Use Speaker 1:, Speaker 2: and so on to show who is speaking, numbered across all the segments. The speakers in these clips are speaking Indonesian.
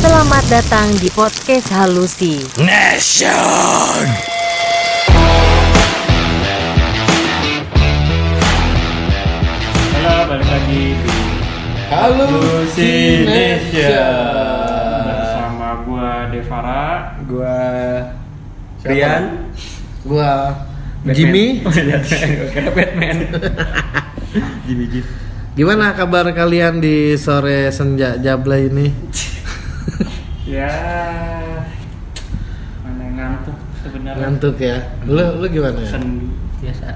Speaker 1: Selamat datang di podcast Halusi.
Speaker 2: Nation!
Speaker 3: Halo, balik lagi di
Speaker 4: Halusination.
Speaker 3: bersama gua Devara.
Speaker 4: Gua
Speaker 2: Siapa?
Speaker 4: Rian, gua
Speaker 2: Batman.
Speaker 4: Jimmy.
Speaker 3: Oh, iya,
Speaker 2: Karena Batman.
Speaker 3: Jimmy Jim.
Speaker 4: Gimana kabar kalian di sore senja Jabla ini?
Speaker 3: Ya, mana ngantuk sebenarnya.
Speaker 4: Ngantuk ya. Lu lu gimana ya?
Speaker 3: Sendu.
Speaker 2: Biasa.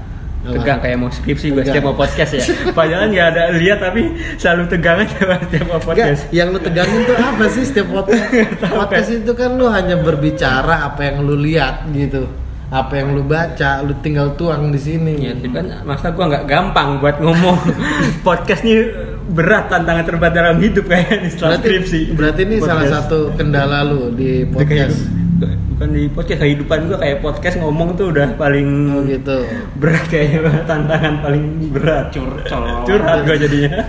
Speaker 4: Apa?
Speaker 2: Tegang kayak mau skripsi gue setiap
Speaker 4: Tegang.
Speaker 2: mau podcast ya. Padahal nggak ada lihat tapi selalu tegang aja setiap mau
Speaker 4: Enggak,
Speaker 2: podcast.
Speaker 4: yang lu tegangin tuh apa sih setiap podcast? Podcast itu kan lu hanya berbicara apa yang lu lihat gitu. Apa yang lu baca, lu tinggal tuang di sini.
Speaker 2: Ya, tapi kan masa gue nggak gampang buat ngomong podcast nih berat tantangan terberat dalam hidup kayak di setelah
Speaker 4: berarti,
Speaker 2: skripsi.
Speaker 4: berarti ini
Speaker 2: Podcast.
Speaker 4: salah satu kendala lu di
Speaker 2: Di kayak-
Speaker 4: podcast.
Speaker 2: bukan di podcast kehidupan gue kayak podcast ngomong tuh udah paling
Speaker 4: Oh gitu.
Speaker 2: berat kayaknya tantangan paling berat
Speaker 3: Curcol.
Speaker 2: curhat gue jadinya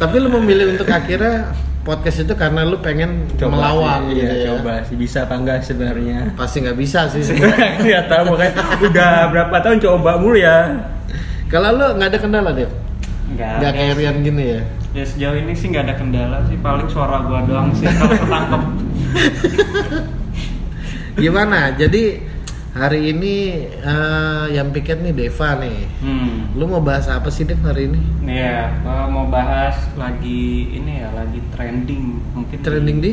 Speaker 4: Tapi lu memilih untuk akhirnya podcast itu karena lu pengen melawan
Speaker 2: sih,
Speaker 4: gitu
Speaker 2: iya,
Speaker 4: ya.
Speaker 2: coba sih bisa apa enggak sebenarnya
Speaker 4: Pasti nggak bisa sih.
Speaker 2: nggak tahu kan udah berapa tahun coba mulu ya
Speaker 4: Kalau lu nggak ada kendala deh,
Speaker 3: Enggak.
Speaker 4: nggak kayak Rian gini ya.
Speaker 3: Ya sejauh ini sih nggak ada kendala sih, paling suara gua doang sih kalau ketangkep.
Speaker 4: Gimana? Jadi hari ini eh, yang piket nih Deva nih.
Speaker 3: Hmm.
Speaker 4: Lu mau bahas apa sih Dev hari ini?
Speaker 3: Ya, gua mau bahas lagi ini ya, lagi trending mungkin di-
Speaker 4: Trending di?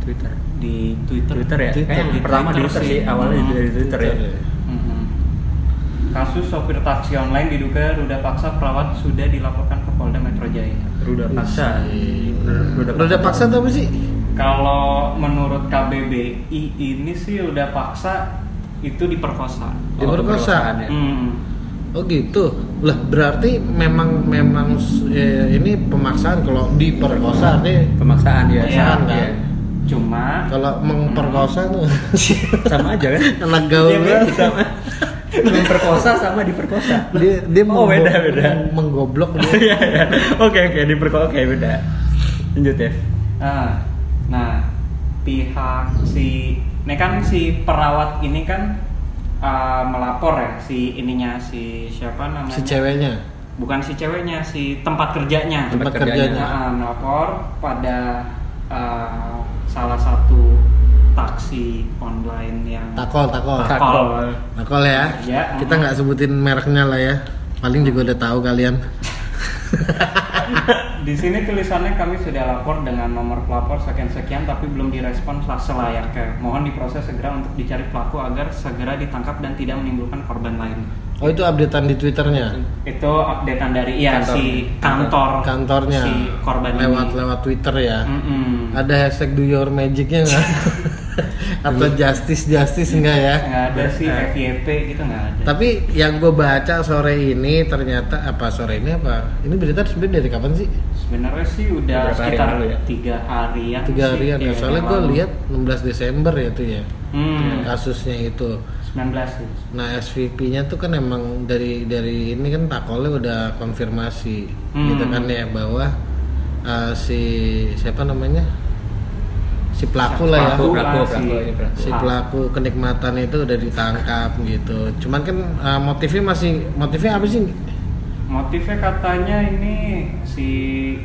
Speaker 2: Twitter
Speaker 3: di Twitter.
Speaker 2: Twitter ya
Speaker 3: Twitter.
Speaker 2: Kayaknya
Speaker 3: Di
Speaker 2: pertama
Speaker 3: Twitter
Speaker 2: Twitter sih awalnya
Speaker 3: Hmm.
Speaker 2: dari Twitter ya
Speaker 3: Mhm. Kasus sopir taksi online diduga ruda paksa perawat sudah dilaporkan ke Polda Metro Jaya.
Speaker 2: Ruda paksa Ruda
Speaker 4: Roda paksa tuh apa sih?
Speaker 3: Kalau menurut KBBI ini sih udah paksa itu diperkosa.
Speaker 2: Oh,
Speaker 4: Diperkosa.
Speaker 2: keperkosaan ya.
Speaker 3: Hmm.
Speaker 4: Oh gitu. Lah berarti memang memang eh, ini pemaksaan kalau diperkosa artinya
Speaker 2: pemaksaan ya
Speaker 3: Iya,
Speaker 4: pemaksaan
Speaker 2: iya.
Speaker 4: kan.
Speaker 3: Cuma
Speaker 4: Kalau memperkosa tuh
Speaker 2: sama aja kan
Speaker 4: anak gaul.
Speaker 2: Iya,
Speaker 4: banget.
Speaker 2: sama memperkosa sama diperkosa
Speaker 4: Dia dia
Speaker 2: Oh,
Speaker 4: menggo-
Speaker 2: beda, beda.
Speaker 4: meng- menggoblok dia.
Speaker 2: Iya, iya. oke oke diperkosa oke beda lanjut ya
Speaker 3: Ah, nah pihak si ini kan si perawat ini kan ah, melapor ya si ininya si siapa namanya
Speaker 4: si ceweknya.
Speaker 3: bukan si ceweknya si tempat kerjanya
Speaker 4: Tempat
Speaker 2: kerjanya.
Speaker 4: kerjanya.
Speaker 3: Nah, melapor pada ah, salah satu taksi online yang
Speaker 4: Takol, takol.
Speaker 3: Takol.
Speaker 4: Takol ya.
Speaker 3: Ya.
Speaker 4: Kita nggak sebutin mereknya lah ya. Paling juga udah tahu kalian.
Speaker 3: di sini tulisannya kami sudah lapor dengan nomor pelapor sekian sekian tapi belum direspon sel- selayaknya mohon diproses segera untuk dicari pelaku agar segera ditangkap dan tidak menimbulkan korban lain
Speaker 4: Oh itu updatean di twitternya,
Speaker 3: itu updatean dari ya
Speaker 2: Kantor.
Speaker 3: si kantor
Speaker 4: kantornya.
Speaker 3: si korban
Speaker 4: lewat
Speaker 3: ini.
Speaker 4: lewat twitter ya.
Speaker 2: Hmm.
Speaker 3: Mm-mm.
Speaker 4: Ada hashtag do your magicnya nggak? Atau
Speaker 2: Hmm.
Speaker 4: justice justice enggak ya?
Speaker 3: nggak ada sih FYP gitu nggak ada
Speaker 4: Tapi yang gue baca sore ini ternyata apa sore ini apa? Ini berita sebenarnya dari kapan sih?
Speaker 3: sebenarnya sih udah
Speaker 2: Beberapa hari
Speaker 3: sekitar
Speaker 2: lalu ya?
Speaker 3: tiga harian
Speaker 4: Tiga
Speaker 2: Iya,
Speaker 3: sih,
Speaker 4: harian ya.
Speaker 3: yang
Speaker 4: Soalnya gue
Speaker 3: lalu.
Speaker 4: lihat 16 Desember ya itu ya
Speaker 3: hmm,
Speaker 4: kasusnya itu.
Speaker 3: 19 sih
Speaker 4: Nah SVP-nya tuh kan emang dari dari ini kan takolnya udah konfirmasi
Speaker 3: Hmm.
Speaker 4: gitu kan ya bahwa eh, si siapa namanya si pelaku lah ya
Speaker 2: Pelaku,
Speaker 3: Pelaku,
Speaker 2: pelaku,
Speaker 3: si-
Speaker 2: pelaku, ini pelaku.
Speaker 4: si pelaku kenikmatan itu udah ditangkap gitu. Cuman kan eh, motifnya masih motifnya apa sih?
Speaker 3: Motifnya katanya ini si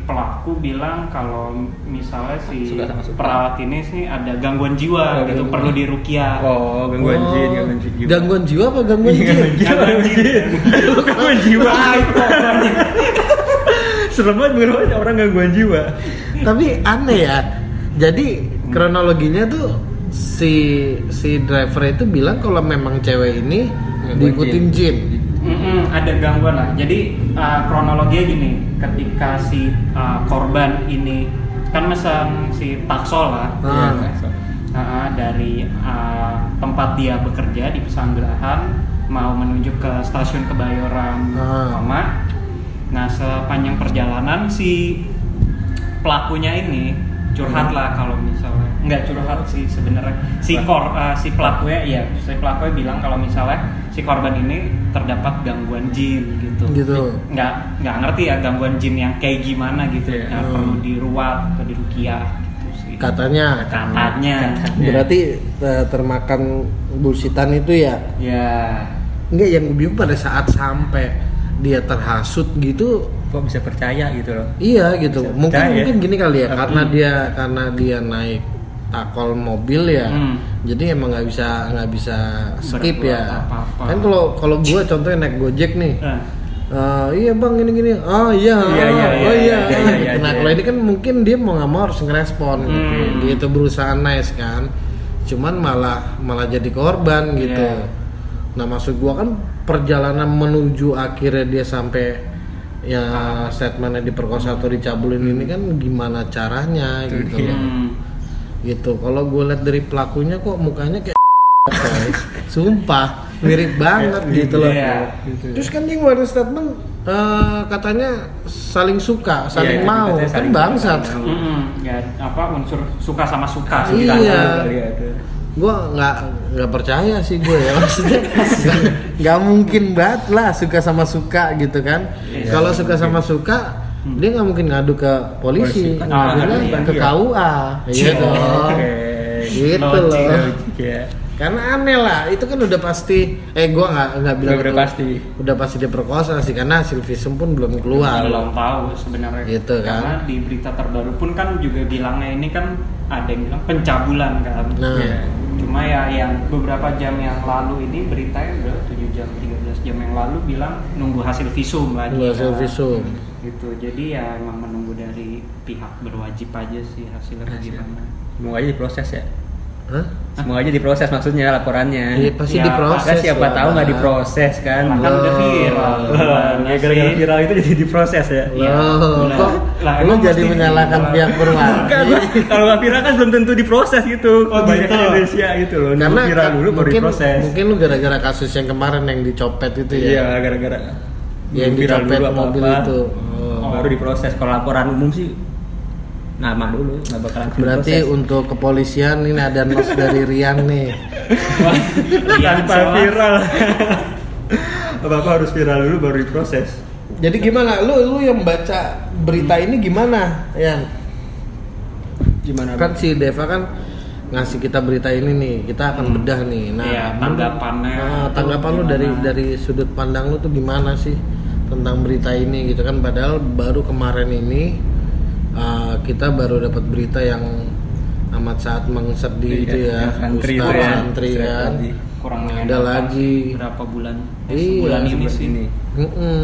Speaker 3: pelaku bilang kalau misalnya si
Speaker 2: Suka sama suka.
Speaker 3: perawat ini sih ada gangguan jiwa
Speaker 2: Oh,
Speaker 3: gitu
Speaker 2: gangguan
Speaker 3: perlu
Speaker 2: jiwa.
Speaker 3: dirukia.
Speaker 2: oh gangguan
Speaker 4: Oh,
Speaker 2: jin gangguan jin jiwa.
Speaker 4: Gangguan jiwa apa gangguan
Speaker 2: Iya,
Speaker 4: jin?
Speaker 2: gangguan jiwa gangguan jiwa serem banget gue ngeliat orang gangguan jiwa
Speaker 4: Tapi aneh ya. Jadi kronologinya tuh si si driver itu bilang kalau memang cewek ini
Speaker 2: Gangguan
Speaker 4: diikutin jin.
Speaker 3: Mm-mm, ada gangguan lah. Jadi uh, kronologinya gini, ketika si uh, korban ini kan mesen si taksol lah
Speaker 4: Ah.
Speaker 2: Iya, so.
Speaker 3: uh, dari uh, tempat dia bekerja di Pesanggerahan mau menuju ke stasiun Kebayoran
Speaker 4: Ah.
Speaker 3: lama. Nah sepanjang perjalanan si pelakunya ini curhat lah kalau misalnya nggak curhat sih sebenarnya si kor uh, si pelakunya ya si pelakunya bilang kalau misalnya si korban ini terdapat gangguan jin gitu
Speaker 4: Gitu.
Speaker 3: nggak nggak ngerti ya gangguan jin yang kayak gimana gitu
Speaker 2: Iya.
Speaker 3: yang
Speaker 4: Hmm.
Speaker 3: perlu diruat atau dirukiah gitu sih
Speaker 4: katanya
Speaker 3: katanya
Speaker 4: berarti eh, termakan bullshitan itu ya
Speaker 3: ya
Speaker 4: enggak yang gue bingung pada saat sampai dia terhasut gitu
Speaker 2: kok bisa percaya gitu loh
Speaker 4: Iya gitu.
Speaker 2: Bisa
Speaker 4: mungkin
Speaker 2: percaya.
Speaker 4: mungkin gini kali ya karena dia karena dia naik takol mobil ya.
Speaker 3: Hmm.
Speaker 4: Jadi emang nggak bisa nggak bisa skip
Speaker 3: Berbuat
Speaker 4: ya.
Speaker 3: apa-apa.
Speaker 4: Kan kalau kalau gue contohnya naik Gojek nih.
Speaker 3: Eh,
Speaker 4: eh, iya bang ini gini oh iya
Speaker 2: Iya, iya,
Speaker 4: oh
Speaker 2: iya,
Speaker 4: iya,
Speaker 2: iya, iya, iya,
Speaker 4: nah
Speaker 2: iya.
Speaker 4: kalau ini kan mungkin dia mau nggak mau harus ngerespon gitu
Speaker 3: Hmm.
Speaker 4: gitu berusaha nice kan cuman malah malah jadi korban gitu
Speaker 3: Iya.
Speaker 4: nah maksud gua kan perjalanan menuju akhirnya dia sampai ya
Speaker 2: Ah.
Speaker 4: statementnya diperkosa atau dicabulin ini kan gimana caranya
Speaker 2: Itu
Speaker 4: gitu
Speaker 2: dia.
Speaker 4: loh.
Speaker 3: hmm.
Speaker 4: gitu kalau gue lihat dari pelakunya kok mukanya kayak coy. sumpah mirip banget gitu loh
Speaker 3: Iya.
Speaker 4: Terus kan dia ngeluarin statement eh, katanya saling suka, saling
Speaker 2: Iya,
Speaker 4: mau,
Speaker 2: katanya
Speaker 4: kan
Speaker 2: saling
Speaker 4: bangsat.
Speaker 2: suka.
Speaker 3: Mm-mm. ya apa unsur suka sama suka sih.
Speaker 4: Iya.
Speaker 2: Iya, tuh.
Speaker 4: Gue nggak nggak percaya sih gue ya maksudnya nggak- nggak mungkin banget lah suka sama suka gitu kan.
Speaker 3: Iya,
Speaker 4: Kalau
Speaker 2: nggak
Speaker 4: suka sama suka dia nggak mungkin ngadu ke polisi,
Speaker 2: Polisi.
Speaker 4: kan
Speaker 3: Ah,
Speaker 4: ngadunya
Speaker 3: iya.
Speaker 4: ke KUA, iya
Speaker 3: Cek.
Speaker 4: dong.
Speaker 2: Oke. Iya
Speaker 4: Gitu
Speaker 3: Logik,
Speaker 4: loh.
Speaker 2: Logik ya.
Speaker 4: Karena aneh lah, itu kan udah pasti. Eh, gue nggak nggak bilang
Speaker 2: Udah
Speaker 4: itu-
Speaker 2: pasti.
Speaker 4: Udah pasti diperkosa sih, karena hasil visum pun belum keluar.
Speaker 3: belum tahu sebenarnya
Speaker 4: Gitu kan.
Speaker 3: karena di berita terbaru pun kan juga bilangnya ini kan ada yang bilang pencabulan kan
Speaker 4: Nah,
Speaker 2: Iya.
Speaker 3: cuma ya yang beberapa jam yang lalu ini beritanya udah 7 jam 13 jam yang lalu bilang nunggu hasil visum lagi
Speaker 4: Nunggu hasil
Speaker 3: kan.
Speaker 4: visum.
Speaker 3: gitu jadi ya emang menunggu dari pihak berwajib aja sih hasilnya
Speaker 2: Hasil.
Speaker 3: gimana
Speaker 2: Semoga aja diproses ya.
Speaker 4: Hah?
Speaker 2: Ah. Semoga aja diproses maksudnya laporannya.
Speaker 4: Iya pasti
Speaker 3: Ya,
Speaker 4: diproses.
Speaker 2: Kan siapa
Speaker 4: lah.
Speaker 2: tahu nggak diproses kan.
Speaker 3: Makan udah viral
Speaker 4: Iya,
Speaker 3: Iya
Speaker 2: Wah, ya gara-gara viral itu jadi diproses ya.
Speaker 4: Loh,
Speaker 3: Lah,
Speaker 4: kok
Speaker 3: lah,
Speaker 4: lu
Speaker 3: emang
Speaker 4: jadi
Speaker 3: pasti
Speaker 4: menyalahkan
Speaker 3: viral.
Speaker 4: pihak
Speaker 2: Enggak,
Speaker 4: berwajib?
Speaker 2: gua- kalau nggak viral kan belum tentu diproses gitu.
Speaker 3: Oh,
Speaker 2: Kebanyakan
Speaker 3: gitu.
Speaker 2: Indonesia gitu loh. Nunggu
Speaker 4: Karena
Speaker 2: viral dulu baru
Speaker 4: mungkin
Speaker 2: diproses.
Speaker 4: mungkin lu gara-gara kasus yang kemarin yang dicopet itu ya.
Speaker 2: Iya, gara-gara
Speaker 4: yang
Speaker 2: nunggu viral
Speaker 4: dicopet
Speaker 2: dulu apa-apa,
Speaker 4: mobil itu. Oh.
Speaker 3: Oh.
Speaker 2: Baru diproses. Kalau laporan umum sih nama dulu, nggak bakalan
Speaker 4: Berarti
Speaker 2: diproses.
Speaker 4: untuk kepolisian ini ada nos dari Rian nih.
Speaker 3: Iya,
Speaker 4: Iya,
Speaker 2: tanpa
Speaker 3: soalnya-
Speaker 2: viral. Bapak harus viral dulu baru diproses.
Speaker 4: Jadi gimana? Lu lu yang baca berita ini gimana, Yan?
Speaker 2: Gimana?
Speaker 4: Kan si Deva kan ngasih kita berita ini nih, kita akan bedah nih. Nah,
Speaker 3: Iya,
Speaker 4: lu-
Speaker 3: tanggapannya
Speaker 4: Nah,
Speaker 3: tuh
Speaker 4: tanggapan lu dari
Speaker 3: gimana?
Speaker 4: dari sudut pandang lu tuh gimana sih tentang berita ini gitu kan? Padahal baru kemarin ini uh, kita baru dapat berita yang amat saat mengsedih itu ya,
Speaker 2: antri itu
Speaker 4: Ustaz
Speaker 2: ya.
Speaker 4: santri kan.
Speaker 2: Santri.
Speaker 3: kurang
Speaker 4: Ada
Speaker 3: mengenakan
Speaker 4: lagi.
Speaker 3: berapa bulan
Speaker 4: Iya,
Speaker 3: bulan ini
Speaker 2: Sebulan
Speaker 3: sih
Speaker 2: ini.
Speaker 4: Mm-mm.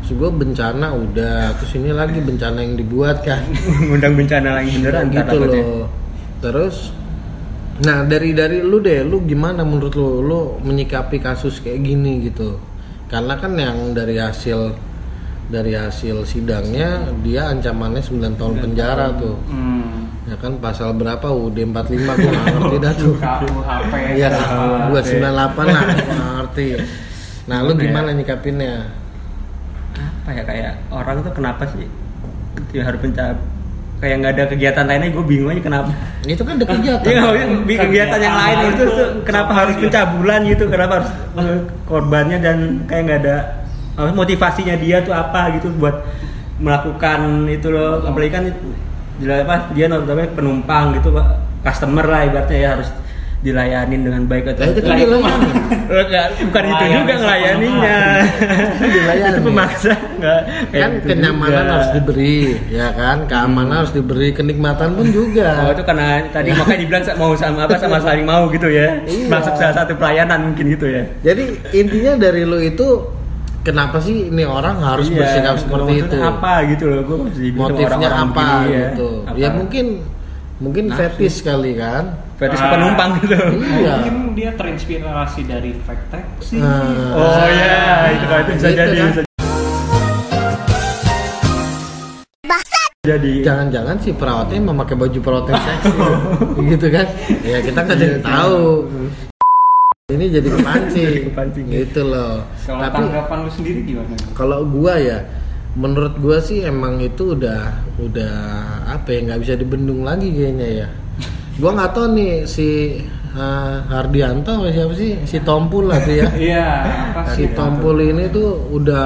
Speaker 4: Terus gua bencana udah, terus ini lagi bencana yang dibuat kan.
Speaker 2: Ngundang bencana lagi beneran ntar
Speaker 4: gitu
Speaker 2: takutnya.
Speaker 4: loh. Terus nah dari dari lu deh, lu gimana menurut lu lu menyikapi kasus kayak gini gitu? Karena kan yang dari hasil dari hasil sidangnya dia ancamannya 9 tahun penjara tuh.
Speaker 3: hmm.
Speaker 4: Ya kan pasal berapa UUD 45 gua nggak ngerti dah tuh.
Speaker 3: KUHP
Speaker 4: Iya,
Speaker 3: berapa?
Speaker 4: 298 lah, gua nggak ngerti. Nah, lu gimana nyikapinnya?
Speaker 2: apa ya kayak orang tuh kenapa sih dia harus penca kayak nggak ada kegiatan lainnya gue bingung aja kenapa
Speaker 4: Itu kan ada kegiatan. Iya.
Speaker 2: Iya, maksudnya bi- kegiatan yang lain itu tuh kenapa harus pencabulan gitu kenapa harus eh, korbannya dan kayak nggak ada apa, motivasinya dia tuh apa gitu buat melakukan itu loh apalagi kan jelas apa dia nontonnya penumpang gitu pak customer lah ibaratnya ya harus dilayanin dengan baik atau
Speaker 4: Lah, itu kan
Speaker 3: Lah,
Speaker 4: dia
Speaker 3: itu
Speaker 4: lah.
Speaker 2: Eh, nggak, bukan itu
Speaker 3: Melayani
Speaker 2: juga
Speaker 3: sama
Speaker 2: ngelayaninya
Speaker 4: Dilayani.
Speaker 2: itu pemaksa nggak kayak
Speaker 4: kan
Speaker 2: gitu
Speaker 4: kenyamanan
Speaker 2: juga.
Speaker 4: harus diberi ya kan keamanan harus diberi kenikmatan pun
Speaker 2: Oh
Speaker 4: juga
Speaker 2: itu karena tadi makanya dibilang sa- mau sama apa sama saling mau gitu ya.
Speaker 4: Iya.
Speaker 2: Masuk salah satu pelayanan mungkin gitu ya.
Speaker 4: jadi intinya dari lu itu kenapa sih ini orang harus
Speaker 2: Iya,
Speaker 4: bersikap seperti
Speaker 2: maksudnya
Speaker 4: itu
Speaker 2: apa gitu loh gue masih bingung sama
Speaker 4: motifnya
Speaker 2: orang-orang
Speaker 4: apa
Speaker 2: begini
Speaker 4: gitu ya mungkin mungkin
Speaker 2: Nafsu.
Speaker 4: fetish kali kan
Speaker 2: Fetish
Speaker 3: Ah.
Speaker 2: penumpang gitu.
Speaker 4: Iya.
Speaker 3: Mungkin dia terinspirasi dari fake taxi.
Speaker 4: Nah,
Speaker 2: Oh ya, itu kan itu bisa
Speaker 4: gitu
Speaker 2: jadi.
Speaker 4: kan.
Speaker 2: Bisa jadi
Speaker 4: jangan-jangan si perawatnya memakai baju perawat yang seksi
Speaker 2: Oh.
Speaker 4: gitu kan ya kita nggak ada
Speaker 2: Iya,
Speaker 4: yang tahu ini jadi kepancing,
Speaker 2: Jadi kepancing. iya.
Speaker 4: gitu loh
Speaker 3: Kalau tanggapan lu sendiri gimana?
Speaker 4: kalau gua ya menurut gua sih emang itu udah udah apa ya nggak bisa dibendung lagi kayaknya ya gua nggak tahu nih si eh, Hardianto apa siapa
Speaker 2: Iya.
Speaker 4: sih si Tompul lah tuh ya
Speaker 3: Iya, apa
Speaker 4: si
Speaker 3: sih?
Speaker 4: Tompul ini tuh udah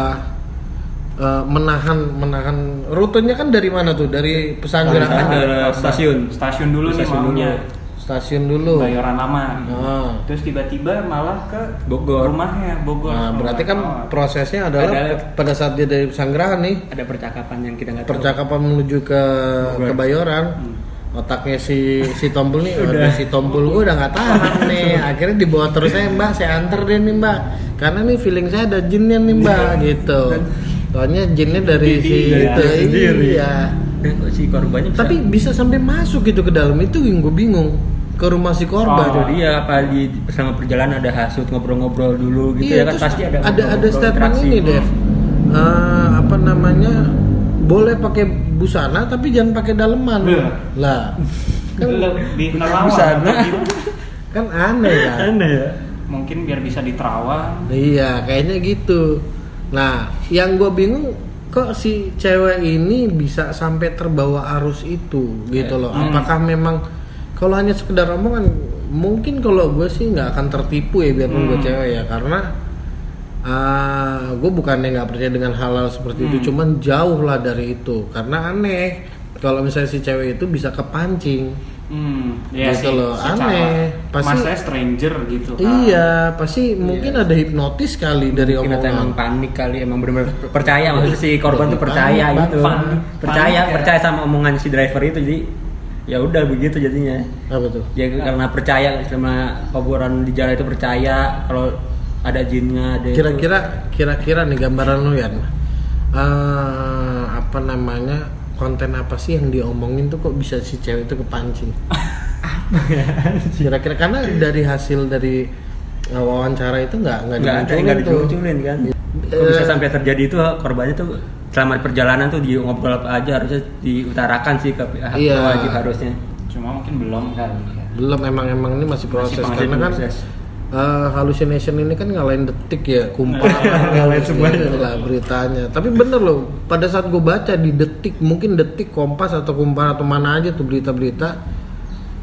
Speaker 4: eh eh, menahan menahan rutenya kan dari mana tuh? Dari
Speaker 2: Dari
Speaker 4: Pesanggerahan
Speaker 2: sana. Ke stasiun.
Speaker 3: Stasiun dulu
Speaker 2: Stasiun
Speaker 3: nih maunya.
Speaker 2: dulu.
Speaker 4: stasiun dulu.
Speaker 3: Bayoran lama.
Speaker 4: Ah.
Speaker 3: Terus tiba-tiba malah ke
Speaker 2: Bogor.
Speaker 3: Rumahnya Bogor.
Speaker 4: Nah, berarti kan
Speaker 3: Oh.
Speaker 4: prosesnya adalah
Speaker 2: Ada-
Speaker 4: pe- pada saat dia dari Pesanggerahan nih,
Speaker 2: ada percakapan yang kita nggak tahu.
Speaker 4: percakapan menuju ke kebayoran otaknya si si tombol nih
Speaker 2: Hmm. Udah.
Speaker 4: udah si tombol gue udah nggak tahan nih akhirnya dibawa terus saya mbak saya anter deh nih mbak karena nih feeling saya ada jinnya nih mbak
Speaker 2: Iya.
Speaker 4: gitu soalnya jinnya dari
Speaker 3: Jadi,
Speaker 4: si
Speaker 3: dari
Speaker 4: itu
Speaker 2: dia Iya, sendiri.
Speaker 4: iya
Speaker 2: Dan Eh, kok si korbannya bisa-
Speaker 4: tapi bisa sampai masuk gitu ke dalam itu yang gue bingung ke rumah si korban
Speaker 2: itu dia apa di sama perjalanan ada hasut ngobrol-ngobrol dulu gitu ya
Speaker 4: Iya,
Speaker 2: kan
Speaker 4: terus
Speaker 2: pasti ada
Speaker 4: ada ada
Speaker 2: ngobrol-ngobrol,
Speaker 4: statement
Speaker 2: interaksi. Hmm.
Speaker 4: ini Dev Eh, apa namanya boleh pakai busana tapi jangan pakai daleman
Speaker 3: Iya.
Speaker 4: lah kan,
Speaker 3: lebih nerawan
Speaker 2: Busana.
Speaker 3: atau gimana?
Speaker 4: kan aneh kan
Speaker 2: aneh ya
Speaker 3: mungkin biar bisa diterawan
Speaker 4: iya kayaknya gitu nah yang gue bingung kok si cewek ini bisa sampai terbawa arus itu gitu loh
Speaker 3: Hmm.
Speaker 4: apakah memang kalau hanya sekedar omongan mungkin kalau gue sih nggak akan tertipu ya biarpun gue
Speaker 3: Hmm.
Speaker 4: cewek ya karena gue bukannya nggak percaya dengan halal seperti itu
Speaker 3: Hmm.
Speaker 4: cuman jauh lah dari itu karena aneh kalau misalnya si cewek itu bisa kepancing
Speaker 3: hmm ya
Speaker 4: Gitu
Speaker 3: sih,
Speaker 4: loh,
Speaker 3: secara-
Speaker 4: aneh. Pasti-
Speaker 3: mas saya stranger gitu kan
Speaker 4: iya pasti mungkin ada hipnotis kali dari
Speaker 2: Mungkin atau
Speaker 4: omongan
Speaker 2: emang
Speaker 4: Iya.
Speaker 2: panik kali emang benar-benar percaya maksudnya si korban tuh
Speaker 4: Panik,
Speaker 2: percaya
Speaker 4: panik,
Speaker 2: gitu
Speaker 3: panik.
Speaker 2: percaya
Speaker 3: Panik ya.
Speaker 2: percaya sama omongan si driver itu jadi ya udah begitu jadinya
Speaker 4: apa tuh
Speaker 2: ya karena percaya sama kuburan di jalan itu percaya kalau ada jinnya ada itu.
Speaker 4: kira-kira kira-kira nih gambaran lu ya apa namanya konten apa sih yang diomongin tuh kok bisa si cewek itu kepancing kira-kira karena dari hasil dari uh, wawancara itu nggak nggak
Speaker 2: nggak ada
Speaker 4: dimunculin
Speaker 2: nggak
Speaker 4: tuh.
Speaker 2: dimunculin kan Kok
Speaker 4: Eh.
Speaker 2: bisa sampai terjadi itu korbannya tuh selama di perjalanan tuh di ngobrol apa aja harusnya diutarakan sih ke pihak
Speaker 4: Iya.
Speaker 2: wajib harusnya
Speaker 3: cuma mungkin belum kali ya
Speaker 4: belum emang emang ini masih proses
Speaker 2: masih
Speaker 4: karena kan
Speaker 2: proses.
Speaker 4: uh, hallucination ini kan ngalahin detik ya kumpul Iya,
Speaker 2: Ngalahin semuanya.
Speaker 4: lah beritanya tapi bener loh pada saat gue baca di detik mungkin detik kompas atau kumpar atau mana aja tuh berita-berita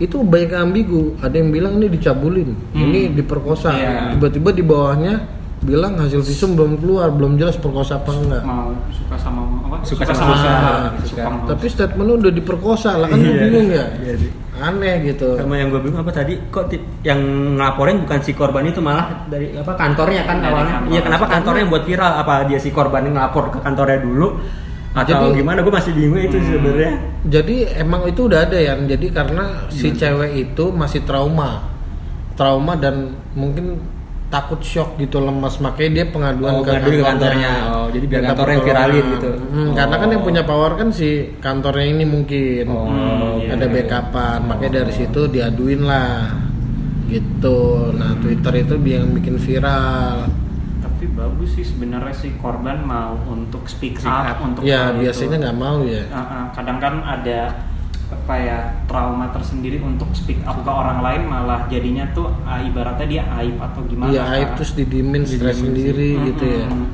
Speaker 4: itu banyak yang ambigu ada yang bilang ini dicabulin
Speaker 2: Hmm.
Speaker 4: ini diperkosa
Speaker 3: Iya.
Speaker 4: tiba-tiba di bawahnya bilang hasil visum belum keluar belum jelas perkosa apa enggak
Speaker 3: mau suka sama apa
Speaker 2: Suka sama
Speaker 3: sama,
Speaker 4: suka.
Speaker 3: suka sama-
Speaker 4: tapi statement lu udah diperkosa lah kan lu
Speaker 2: Iya.
Speaker 4: bingung ya
Speaker 2: Iya, Dik.
Speaker 4: aneh gitu
Speaker 2: sama yang gue bingung apa tadi kok ti- yang ngelaporin bukan si korban itu malah dari apa kantornya kan
Speaker 3: Dari
Speaker 2: awalnya
Speaker 3: kantor.
Speaker 2: iya kenapa kantornya yang buat viral apa dia si korban yang ngelapor ke kantornya dulu atau
Speaker 4: Jadi-
Speaker 2: gimana gue masih bingung itu
Speaker 3: Hmm.
Speaker 2: sebenarnya
Speaker 4: Jadi emang itu udah ada ya. Jadi karena si cewek itu masih trauma. Trauma dan mungkin takut shock gitu lemas makanya dia pengaduan
Speaker 2: Oh, ngadu ke kantornya. Oh, jadi biar
Speaker 4: Minta
Speaker 2: kantornya yang
Speaker 4: pertolongan.
Speaker 2: viralin gitu.
Speaker 4: Hmm, karena kan yang
Speaker 2: Oh.
Speaker 4: punya power kan si kantornya ini mungkin Hmm,
Speaker 2: Oh,
Speaker 4: ada
Speaker 2: iya.
Speaker 4: backupan makanya dari situ diaduin lah gitu nah Twitter itu yang bikin viral
Speaker 3: tapi bagus sih sebenarnya si korban mau untuk speak
Speaker 2: Speak
Speaker 3: up,
Speaker 2: up.
Speaker 3: untuk
Speaker 4: ya
Speaker 3: hal itu.
Speaker 4: biasanya nggak mau ya
Speaker 3: Ah, ah, kadang kan ada apa ya trauma tersendiri untuk speak up ke orang lain malah jadinya tuh ah, ibaratnya dia aib atau gimana
Speaker 4: Iya aib
Speaker 3: kan.
Speaker 4: terus didimin stres
Speaker 2: Didimin
Speaker 4: sendiri
Speaker 3: sih.
Speaker 4: gitu
Speaker 2: Hmm.
Speaker 4: ya.
Speaker 3: Mm-mm.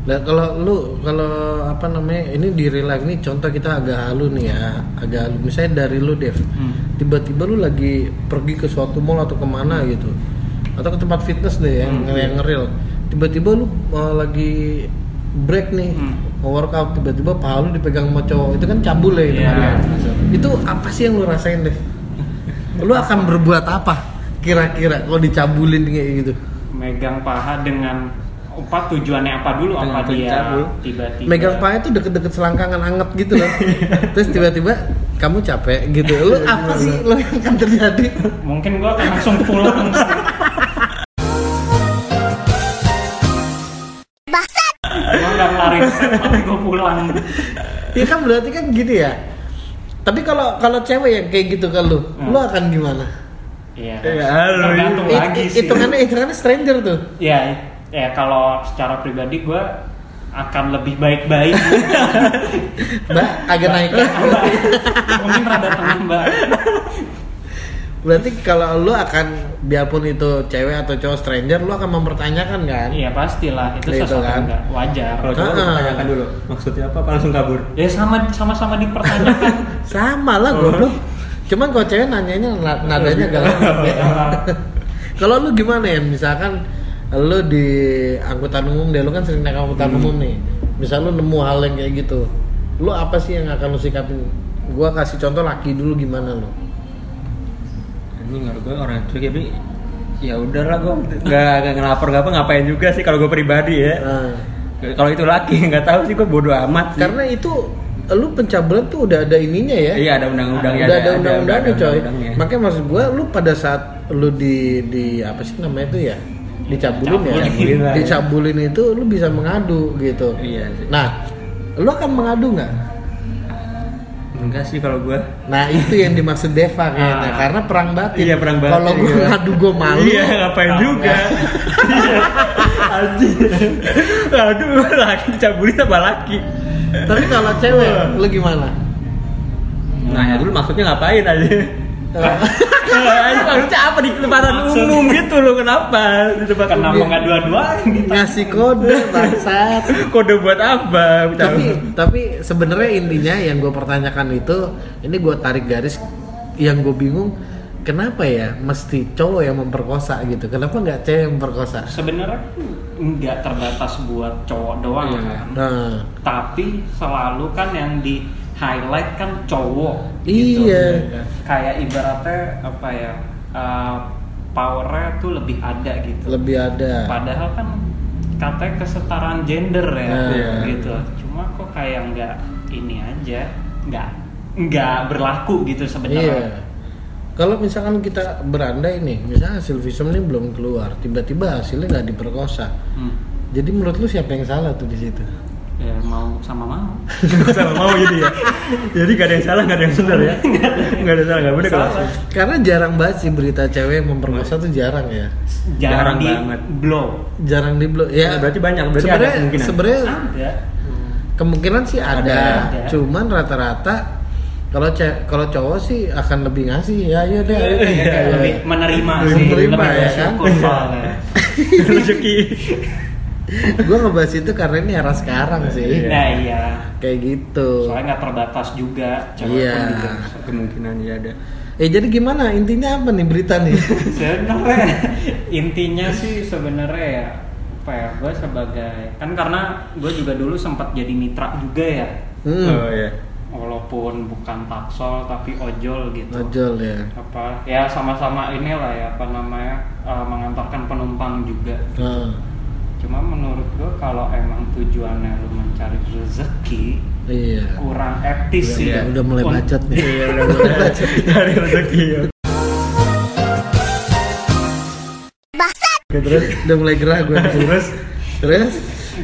Speaker 4: Nah kalau lu kalau apa namanya ini di real life nih contoh kita agak halu nih ya agak halu misalnya dari lu Dev
Speaker 3: Hmm.
Speaker 4: tiba-tiba lu lagi pergi ke suatu mall atau kemana gitu atau ke tempat fitness deh yang
Speaker 3: Hmm.
Speaker 4: yang real tiba-tiba lu uh, lagi break nih
Speaker 3: Hmm.
Speaker 4: workout tiba-tiba paha lu dipegang sama cowok itu kan cabul ya itu
Speaker 3: Iya.
Speaker 4: kan. itu apa sih yang lu rasain deh lu akan berbuat apa kira-kira kalau dicabulin kayak gitu
Speaker 3: megang paha dengan apa tujuannya apa dulu
Speaker 2: Dengan
Speaker 3: apa dia
Speaker 2: pencabul.
Speaker 3: tiba-tiba
Speaker 4: megang paha itu deket-deket selangkangan anget gitu loh terus tiba-tiba kamu capek gitu lu apa sih lo yang akan terjadi
Speaker 3: mungkin gua akan langsung pulang gua nggak lari tapi gua pulang
Speaker 4: ya kan berarti kan gini ya tapi kalau kalau cewek yang kayak gitu ke lu
Speaker 3: Hmm.
Speaker 4: lu akan gimana
Speaker 3: iya
Speaker 2: Ya, halo.
Speaker 3: tergantung
Speaker 4: It-
Speaker 3: lagi
Speaker 4: it-
Speaker 3: sih
Speaker 4: hitungannya hitungannya stranger tuh
Speaker 3: ya ya kalau secara pribadi gua akan lebih baik-baik
Speaker 4: mbak agak naik
Speaker 3: mungkin rada tengah mbak
Speaker 4: berarti kalau lu akan biarpun itu cewek atau cowok stranger lu akan mempertanyakan kan
Speaker 3: iya pastilah itu
Speaker 4: Gitu
Speaker 3: sesuatu
Speaker 4: kan.
Speaker 3: yang nggak wajar
Speaker 2: kalau coba
Speaker 4: Ah.
Speaker 2: tanyakan dulu maksudnya apa apa langsung kabur
Speaker 3: ya sama sama sama dipertanyakan
Speaker 4: sama lah goblok cuman kalau cewek nanyanya na- nadanya agak lama Kalau lu gimana ya? Misalkan lu di angkutan umum deh, lu kan sering naik angkutan umum nih. misal lu nemu hal yang kayak gitu lu apa sih yang akan lu sikapin gua kasih contoh laki dulu gimana lu
Speaker 2: anjing kalau gue orang cuek ya Bi. ya udahlah gue nggak nggak ngelapor nggak apa ngapain juga sih kalau gue pribadi ya
Speaker 4: Nah,
Speaker 2: kalau itu laki nggak tahu sih gue bodoh amat sih.
Speaker 4: karena itu lu pencabulan tuh udah ada ininya ya
Speaker 2: iya ada undang-undangnya
Speaker 4: udah ada undang-undangnya coy
Speaker 2: undang-undangnya.
Speaker 4: makanya maksud gua lu pada saat lu di di apa sih namanya itu ya dicabulin ya
Speaker 2: Dicabulin lah, ya.
Speaker 4: dicabulin itu lu bisa mengadu gitu
Speaker 2: iya sih.
Speaker 4: nah lu akan mengadu nggak
Speaker 2: enggak sih kalau gue
Speaker 4: nah itu yang dimaksud Deva kayaknya
Speaker 3: Ah.
Speaker 4: karena perang batin
Speaker 2: Iya, perang batin,
Speaker 4: kalau gua
Speaker 2: iya.
Speaker 4: ngadu gua malu
Speaker 2: Iya, ngapain juga. Iya. Anjing. Aduh, laki dicabuli sama laki.
Speaker 4: tapi kalau cewek lu gimana
Speaker 2: Nanya Nah, ya dulu maksudnya ngapain aja. Ah. Anjing, maksudnya apa di kesempatan
Speaker 3: Maksud-
Speaker 2: umum gitu loh kenapa? Di tempat
Speaker 4: Iya.
Speaker 3: Kenapa
Speaker 2: umum.
Speaker 3: nggak dua-duaan gitu?
Speaker 4: ngasih kode bangsat
Speaker 2: Kode buat apa?
Speaker 4: tapi tapi sebenarnya intinya yang gue pertanyakan itu ini gue tarik garis yang gue bingung kenapa ya mesti cowok yang memperkosa gitu kenapa nggak cewek yang memperkosa
Speaker 3: Sebenarnya tuh nggak terbatas buat cowok doang
Speaker 2: Iya.
Speaker 3: kan.
Speaker 4: nah
Speaker 3: Tapi selalu kan yang di highlight kan cowok. gitu.
Speaker 4: iya
Speaker 3: Kayak ibaratnya apa ya? eh, powernya tuh lebih ada gitu.
Speaker 4: lebih ada
Speaker 3: Padahal kan katanya kesetaraan gender ya,
Speaker 4: Iya.
Speaker 3: gitu. Cuma kok kayak nggak ini aja, nggak nggak berlaku gitu
Speaker 4: iya
Speaker 3: sebenarnya.
Speaker 4: kalau misalkan kita berandai nih misalnya hasil visum nih belum keluar tiba-tiba hasilnya nggak diperkosa
Speaker 3: Hmm.
Speaker 4: jadi menurut lu siapa yang salah tuh di situ
Speaker 3: Ya, mau sama mau.
Speaker 2: sama mau jadi ya. Jadi gak ada yang salah, gak ada yang benar ya. Gak ada yang salah, gak benar kalau.
Speaker 3: Salah.
Speaker 4: karena jarang banget sih berita cewek yang memperkosa tuh jarang ya
Speaker 2: Jarang
Speaker 3: Jarang, di
Speaker 2: banget.
Speaker 3: blow.
Speaker 4: jarang di blog ya
Speaker 2: Berarti banyak, berarti ada
Speaker 4: sebenarnya
Speaker 2: kemungkinan. Ah.
Speaker 4: sebenarnya
Speaker 3: Ada.
Speaker 4: kemungkinan sih ada,
Speaker 3: Ada.
Speaker 4: cuman rata-rata kalau ce- kalau cowok sih akan lebih ngasih ya ya deh ayo deh.
Speaker 2: Iya,
Speaker 4: Kayak-
Speaker 3: lebih menerima sih,
Speaker 4: Menerima, ya
Speaker 3: lebih bersyukur
Speaker 4: kan?
Speaker 3: soalnya.
Speaker 2: Rezeki.
Speaker 4: gua ngebahas itu karena ini era sekarang sih
Speaker 3: Nah iya,
Speaker 4: kayak gitu
Speaker 3: soalnya nggak terbatas juga. cewek
Speaker 4: Iya.
Speaker 3: pun gitu.
Speaker 2: Nah, Kemungkinan ya ada.
Speaker 4: eh jadi gimana intinya apa nih berita nih
Speaker 3: Sebenarnya intinya sih sebenarnya ya apa ya gue sebagai kan karena gue juga dulu sempat jadi mitra juga ya
Speaker 4: hmm.
Speaker 2: Oh iya.
Speaker 3: walaupun bukan taksol tapi ojol
Speaker 2: iya.
Speaker 3: gitu
Speaker 4: ojol ya
Speaker 3: apa ya sama-sama inilah ya apa namanya eh, mengantarkan penumpang juga
Speaker 4: nah.
Speaker 3: cuma menurut gue kalau emang tujuannya lu mencari rezeki
Speaker 4: iya
Speaker 3: kurang etis sih
Speaker 4: ya, udah, udah mulai
Speaker 3: Un-
Speaker 4: bacot nih
Speaker 2: Iya, udah mulai. Dari rezeki. ya.
Speaker 4: Oke, terus udah mulai gerah gue
Speaker 2: Terus
Speaker 4: terus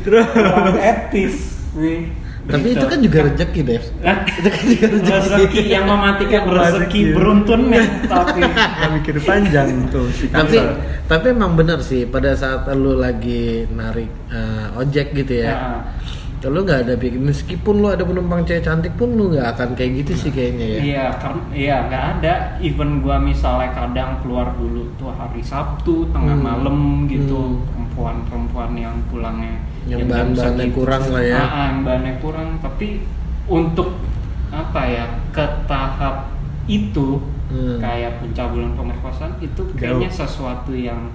Speaker 2: terus
Speaker 3: kurang etis nih
Speaker 4: tapi itu kan juga rezeki deh
Speaker 3: Hah?
Speaker 4: itu kan
Speaker 2: Oh,
Speaker 4: juga
Speaker 3: rezeki
Speaker 2: iya.
Speaker 3: yang mematikan rezeki
Speaker 2: Rezeki.
Speaker 3: beruntun nih tapi
Speaker 2: Nggak mikir panjang tuh si
Speaker 4: tapi
Speaker 2: Kamsel.
Speaker 4: tapi emang bener sih pada saat lu lagi narik eh, ojek gitu ya
Speaker 3: Nah,
Speaker 4: lu nggak ada pikir meskipun lu ada penumpang cewek cantik pun lu nggak akan kayak gitu sih kayaknya ya
Speaker 3: iya karena iya nggak ada even gua misalnya kadang keluar dulu tuh hari Sabtu tengah
Speaker 4: Hmm.
Speaker 3: malam gitu
Speaker 4: Hmm.
Speaker 3: perempuan-perempuan yang pulangnya
Speaker 4: Yang
Speaker 3: jam-jam
Speaker 4: bahan-bahannya
Speaker 3: segitu.
Speaker 4: kurang lah ya.
Speaker 3: Ah, ah, yang bahannya kurang tapi untuk apa ya ke tahap itu
Speaker 4: Hmm.
Speaker 3: kayak pencabulan pemerkosaan itu kayaknya sesuatu yang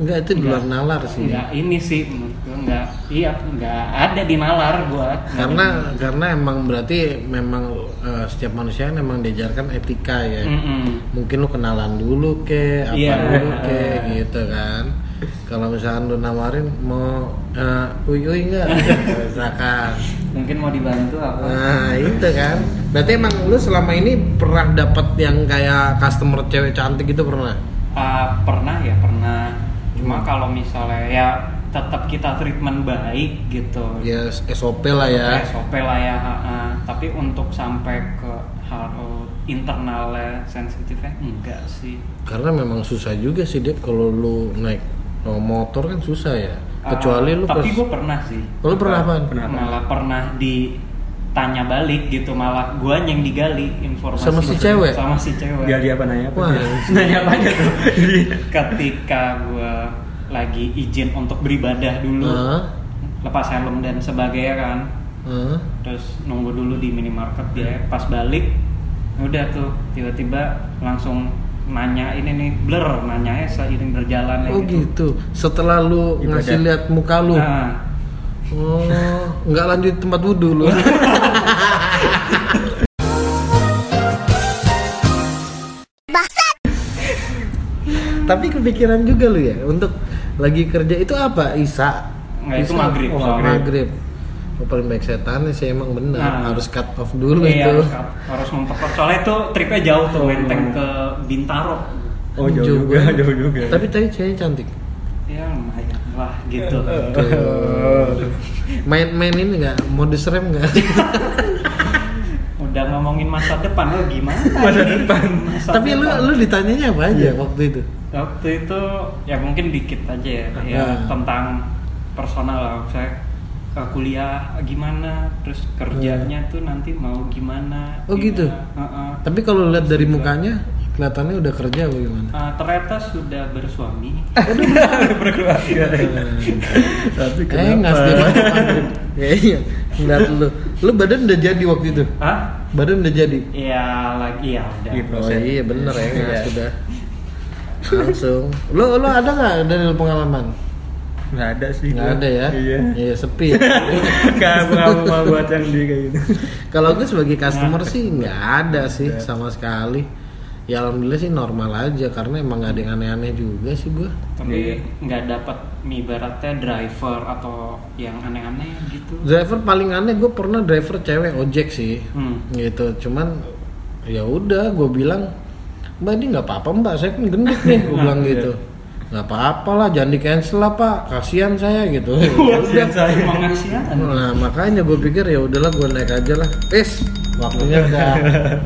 Speaker 4: nggak itu di luar
Speaker 3: Nggak.
Speaker 4: nalar sih
Speaker 3: nggak ini sih menurut gua nggak iya nggak ada di nalar gua
Speaker 4: karena karena emang berarti memang eh, setiap manusia kan emang diajarkan etika ya
Speaker 3: Mm-mm.
Speaker 4: mungkin lu kenalan dulu ke apa
Speaker 3: Hmm. Iya.
Speaker 4: dulu ke gitu kan kalau misalkan lu nawarin mau eh, uy uy nggak misalkan
Speaker 3: mungkin mau dibantu apa
Speaker 4: Nah itu kan Berarti emang lu selama ini pernah dapat yang kayak customer cewek cantik gitu pernah?
Speaker 3: Ah, pernah ya pernah
Speaker 4: Hmm.
Speaker 3: cuma kalau misalnya ya tetap kita treatment baik gitu
Speaker 4: Ya SOP lah ya
Speaker 3: SOP lah ya ha, ha. tapi untuk sampai ke hal internalnya sensitifnya enggak sih
Speaker 4: Karena memang susah juga sih Dep kalau lu naik oh, motor kan susah ya
Speaker 3: Ah,
Speaker 4: Kecuali lu
Speaker 3: tapi
Speaker 4: pas-
Speaker 3: gua pernah sih
Speaker 4: Lu pernah apaan?
Speaker 2: Pernah. Kenapa?
Speaker 3: Nah, malah pernah ditanya balik gitu malah gua yang digali informasi
Speaker 4: Sama si cewek?
Speaker 3: sama si cewek
Speaker 2: Gali apa nanya apa?
Speaker 4: Wah.
Speaker 2: Nanya apa aja tuh? Jadi
Speaker 3: ketika gua lagi izin untuk beribadah dulu
Speaker 4: Hah?
Speaker 3: lepas helm dan sebagainya kan
Speaker 4: Hah?
Speaker 3: terus nunggu dulu di minimarket dia pas balik ya udah tuh tiba-tiba langsung nanya ini nih blur nanya seiring berjalan ya
Speaker 4: Oh gitu Setelah lu
Speaker 2: Ibadah.
Speaker 4: gitu. ngasih lihat muka lu
Speaker 3: Nah,
Speaker 4: Oh, nggak lanjut tempat wudhu lu. Tapi kepikiran juga lu ya untuk lagi kerja itu apa? Isa.
Speaker 3: Nggak, itu
Speaker 4: Isa.
Speaker 3: maghrib,
Speaker 4: Oh,
Speaker 3: maghrib.
Speaker 4: maghrib. Oh, paling baik setan sih emang benar
Speaker 3: Nah.
Speaker 4: harus cut off dulu
Speaker 3: iya,
Speaker 4: itu.
Speaker 3: harus, harus memperkuat. Soalnya itu tripnya jauh tuh, menteng ke Bintaro.
Speaker 2: Oh jauh
Speaker 4: Jauh
Speaker 2: juga,
Speaker 4: banget.
Speaker 2: jauh juga.
Speaker 4: Tapi tadi ceweknya cantik.
Speaker 3: Ya lumayan lah gitu.
Speaker 4: Tuh. Main-main ini nggak modus rem nggak?
Speaker 3: Udah ngomongin masa depan lo gimana?
Speaker 2: Masa
Speaker 3: ini?
Speaker 2: depan.
Speaker 3: Masa
Speaker 4: Tapi lu
Speaker 3: depan.
Speaker 4: lu ditanyanya apa aja waktu itu?
Speaker 3: waktu itu ya mungkin dikit aja ya, ya
Speaker 4: Ah.
Speaker 3: tentang personal lah saya eh, kuliah gimana terus kerjanya tuh nanti mau gimana
Speaker 4: Oh,
Speaker 3: gimana.
Speaker 4: gitu?
Speaker 3: Heeh.
Speaker 4: Tapi kalau lihat dari mukanya kelihatannya udah kerja apa gimana?
Speaker 3: Eh, ternyata sudah bersuami
Speaker 2: berkeluarga. Tapi
Speaker 4: Eh nggak
Speaker 2: kenapa?
Speaker 4: sedih banget. Andre. Kayaknya iya. ngeliat lu. Lu badan udah jadi waktu itu.
Speaker 3: Hah?
Speaker 4: Badan udah jadi.
Speaker 3: ya lagi ya udah
Speaker 2: Gitu.
Speaker 4: Oh
Speaker 2: Proses.
Speaker 4: iya bener ya nggak
Speaker 2: Iya.
Speaker 4: sudah. Langsung. Lu lu ada nggak dari pengalaman?
Speaker 2: Nggak ada sih.
Speaker 4: Nggak
Speaker 2: gua.
Speaker 4: ada ya?
Speaker 2: Iya.
Speaker 4: Iya sepi.
Speaker 2: Nggak nggak mau buat yang di kayak gitu.
Speaker 4: Kalau gue sebagai customer sih nggak ada sih
Speaker 2: Nggak.
Speaker 4: sama sekali. Ya alhamdulillah sih normal aja karena emang nggak ada yang aneh-aneh juga sih gue.
Speaker 2: Iya.
Speaker 3: tapi nggak dapat ibaratnya driver atau yang aneh-aneh gitu
Speaker 4: Driver paling aneh gue pernah driver cewek ojek sih.
Speaker 3: hmm.
Speaker 4: gitu cuman ya udah gue bilang mbak ini nggak apa-apa mbak saya kan gendut nih gue bilang
Speaker 3: Iya.
Speaker 4: gitu nggak apa-apa lah jangan di cancel lah pak kasihan saya gitu
Speaker 3: Iya,
Speaker 2: Kasihan saya.
Speaker 3: mau ngasih apa?
Speaker 4: nah makanya gue pikir ya udahlah gue naik aja lah is waktunya udah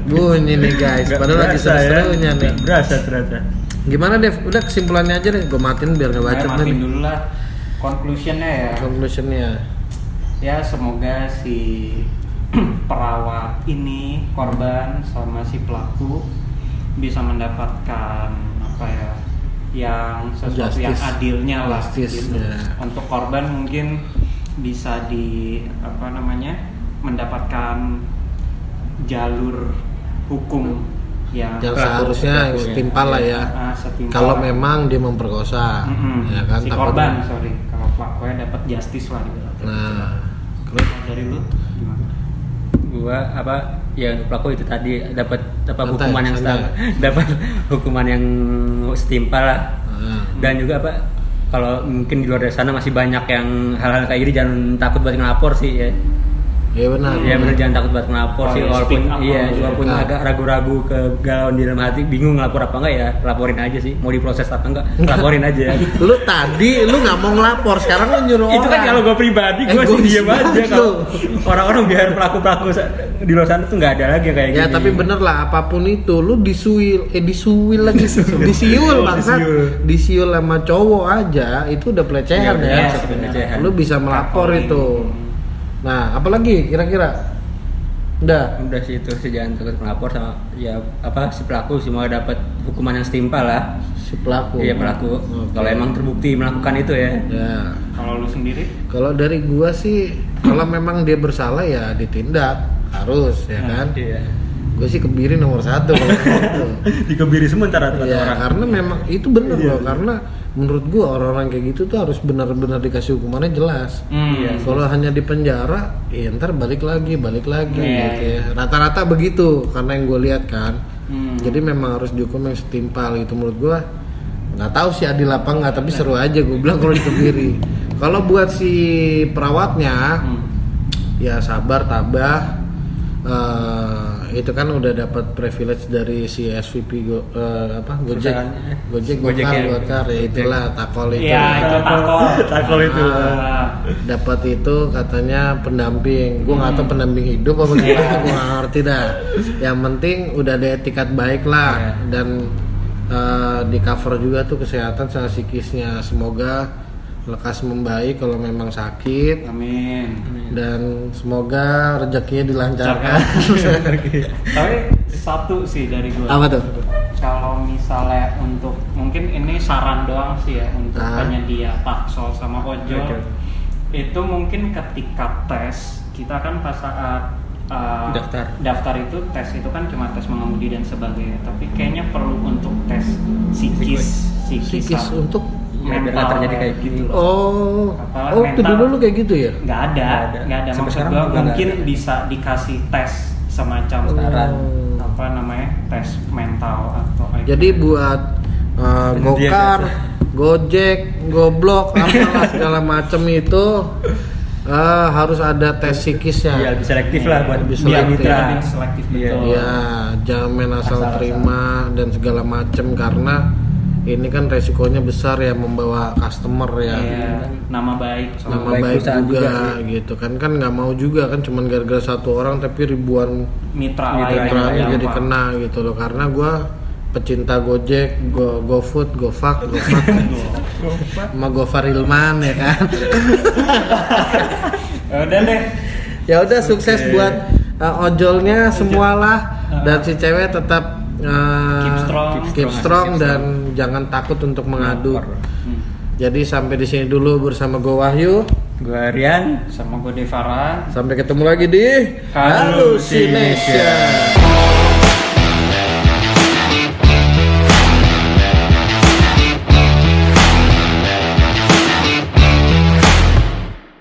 Speaker 4: bunyi nih guys
Speaker 2: Nggak
Speaker 4: padahal lagi
Speaker 2: berasa ya.
Speaker 4: seru-serunya nih
Speaker 2: Nggak Berasa ternyata.
Speaker 4: gimana Dev udah kesimpulannya aja deh gue matiin biar nggak bacot
Speaker 3: Saya
Speaker 4: nanti
Speaker 3: matiin dulu lah conclusionnya ya
Speaker 4: conclusionnya
Speaker 3: ya semoga si perawat ini korban sama si pelaku bisa mendapatkan apa ya yang sesuatu yang
Speaker 4: Justice.
Speaker 3: adilnya lah
Speaker 4: Justice,
Speaker 3: gitu.
Speaker 4: ya.
Speaker 3: untuk korban mungkin bisa di apa namanya mendapatkan jalur hukum yang
Speaker 4: yang seharusnya yang setimpal lah ya
Speaker 3: Ah, setimpal.
Speaker 4: kalau memang dia memperkosa
Speaker 3: Mm-mm.
Speaker 4: ya kan
Speaker 3: si
Speaker 4: takutnya-
Speaker 3: korban sorry kalau pelakunya dapat justice lah gitu.
Speaker 4: nah
Speaker 3: Kalau dari lu gimana?
Speaker 2: gua apa ya untuk pelaku itu tadi dapat dapat
Speaker 4: Santai,
Speaker 2: hukuman yang
Speaker 4: santai.
Speaker 2: setara dapat hukuman yang setimpal lah
Speaker 4: nah.
Speaker 2: dan juga apa kalau mungkin di luar dari sana masih banyak yang hal-hal kayak gini jangan takut buat ngelapor sih ya
Speaker 4: Iya benar.
Speaker 2: ya bener jangan takut buat ngelapor
Speaker 3: Oh,
Speaker 2: sih
Speaker 3: ya,
Speaker 2: walaupun
Speaker 3: speak up
Speaker 2: iya
Speaker 3: lah,
Speaker 2: walaupun
Speaker 4: ya.
Speaker 2: agak ragu-ragu ke galauan di dalam hati bingung ngelapor apa enggak ya laporin aja sih mau diproses apa enggak laporin aja
Speaker 4: Lu tadi lu nggak mau ngelapor, sekarang lu nyuruh orang.
Speaker 2: itu kan kalau gue pribadi gue sih
Speaker 4: Egois
Speaker 2: diem aja
Speaker 4: banget
Speaker 2: kalau
Speaker 4: lu.
Speaker 2: orang-orang biar pelaku-pelaku sa- di luar sana tuh nggak ada lagi yang kayak
Speaker 4: Ya
Speaker 2: gini.
Speaker 4: tapi bener lah apapun itu lu disuil eh disuil lagi disiul bangsa
Speaker 2: Disiul.
Speaker 4: disiul sama cowok aja itu udah pelecehan
Speaker 2: Iya,
Speaker 4: ya,
Speaker 2: iya, pelecehan.
Speaker 4: lu bisa melapor
Speaker 3: Laporin.
Speaker 4: itu nah apalagi kira-kira udah
Speaker 2: udah sih itu sih jangan takut melapor sama ya apa si pelaku semua dapat hukuman yang setimpal lah
Speaker 4: si pelaku
Speaker 2: iya pelaku
Speaker 4: Oh. Oke.
Speaker 2: kalau emang terbukti melakukan itu ya
Speaker 4: ya
Speaker 3: Kalau lu sendiri?
Speaker 4: kalau dari gua sih kalau memang dia bersalah ya ditindak harus ya
Speaker 3: Nah,
Speaker 4: kan
Speaker 2: iya
Speaker 4: gue sih kebiri nomor satu kalau gitu.
Speaker 2: dikebiri sebentar rata-rata
Speaker 4: ya
Speaker 2: orang
Speaker 4: karena memang itu bener
Speaker 2: Iya.
Speaker 4: loh karena menurut gue orang-orang kayak gitu tuh harus benar-benar dikasih hukumannya jelas
Speaker 2: Iya.
Speaker 4: kalau hanya di penjara ya ntar balik lagi balik lagi
Speaker 3: Iya,
Speaker 4: gitu ya rata-rata begitu karena yang gue lihat kan
Speaker 3: Hmm.
Speaker 4: jadi memang harus dihukum yang setimpal gitu menurut gue nggak tahu sih adil apa nggak tapi
Speaker 3: Nah.
Speaker 4: seru aja gue bilang kalau dikebiri kalau buat si perawatnya
Speaker 3: Hmm.
Speaker 4: ya sabar tabah Eh, itu kan udah dapat privilege dari si SVP go, eh, apa Gojek
Speaker 2: Perusahaannya.
Speaker 4: Gojek
Speaker 2: Gojek
Speaker 4: Gokar
Speaker 2: ya.
Speaker 4: Gokar ya itulah takol itu
Speaker 3: Iya, itu takol.
Speaker 2: takol itu
Speaker 3: Ah,
Speaker 4: dapat itu katanya pendamping gue nggak tahu pendamping hidup apa gimana gue nggak ngerti dah yang penting udah ada etikat baik lah dan eh, di cover juga tuh kesehatan sama psikisnya semoga lekas membaik kalau memang sakit
Speaker 3: Amin.
Speaker 4: dan semoga rezekinya dilancarkan.
Speaker 3: Tapi satu sih dari gua.
Speaker 4: Apa tuh?
Speaker 3: Kalau misalnya untuk mungkin ini saran doang sih ya untuk
Speaker 4: Ah.
Speaker 3: penyedia taksol sama ojol.
Speaker 2: Oke.
Speaker 3: Itu mungkin ketika tes kita kan pas saat uh,
Speaker 2: Daftar.
Speaker 3: daftar itu tes itu kan cuma tes mengemudi dan sebagainya tapi kayaknya perlu untuk tes psikis psikis,
Speaker 2: Oh.
Speaker 4: Psikis untuk
Speaker 2: biarlah Iya, terjadi kayak gitu gini.
Speaker 4: Oh,
Speaker 3: Apalah
Speaker 4: oh waktu
Speaker 3: mental.
Speaker 4: dulu lu kayak gitu ya?
Speaker 3: nggak ada
Speaker 2: Nggak ada.
Speaker 3: nggak ada
Speaker 2: Sampai
Speaker 3: maksud
Speaker 2: sekarang
Speaker 3: gua
Speaker 2: juga nggak
Speaker 3: mungkin
Speaker 2: ada.
Speaker 3: bisa dikasih tes semacam
Speaker 2: Saran.
Speaker 4: Oh.
Speaker 3: apa namanya tes mental atau kayak gitu.
Speaker 4: Jadi buat uh,
Speaker 2: Dia
Speaker 4: gokar,
Speaker 2: biasa.
Speaker 4: gojek, goblok, apalah segala macem itu eh, harus ada tes ya. psikisnya.
Speaker 2: Iya, lebih selektif lah buat
Speaker 4: Lebih
Speaker 2: biar
Speaker 4: selektif.
Speaker 2: mitra.
Speaker 3: Lebih selektif,
Speaker 2: Iya.
Speaker 3: betul.
Speaker 4: Ya, jangan main asal
Speaker 2: Asal-asal.
Speaker 4: terima dan segala macem karena ini kan resikonya besar ya membawa customer ya.
Speaker 3: Iya, nama baik soalnya.
Speaker 4: Nama
Speaker 2: Baik
Speaker 4: baik juga,
Speaker 2: perusahaan juga
Speaker 4: gitu kan kan nggak mau juga kan cuman gara-gara satu orang tapi ribuan
Speaker 3: mitra, lain yang
Speaker 2: Mitra mitra
Speaker 4: Terlalu
Speaker 2: yang
Speaker 4: jadi
Speaker 3: terdampak.
Speaker 4: kena gitu loh karena gua pecinta Gojek, Go GoFood, GoFak, GoFak, sama Gofar Ilman ya kan.
Speaker 3: Ya udah deh
Speaker 4: ya udah sukses
Speaker 2: Oke.
Speaker 4: buat uh, ojolnya semualah dan si cewek tetap uh,
Speaker 3: Keep strong.
Speaker 4: Ah. keep strong dan jangan takut untuk mengadu.
Speaker 3: Hmm.
Speaker 4: Jadi sampai di sini dulu bersama Go Wahyu.
Speaker 2: Gue Rian,
Speaker 3: sama gue Devara
Speaker 4: Sampai ketemu lagi di
Speaker 3: Halusination.
Speaker 4: Halusination.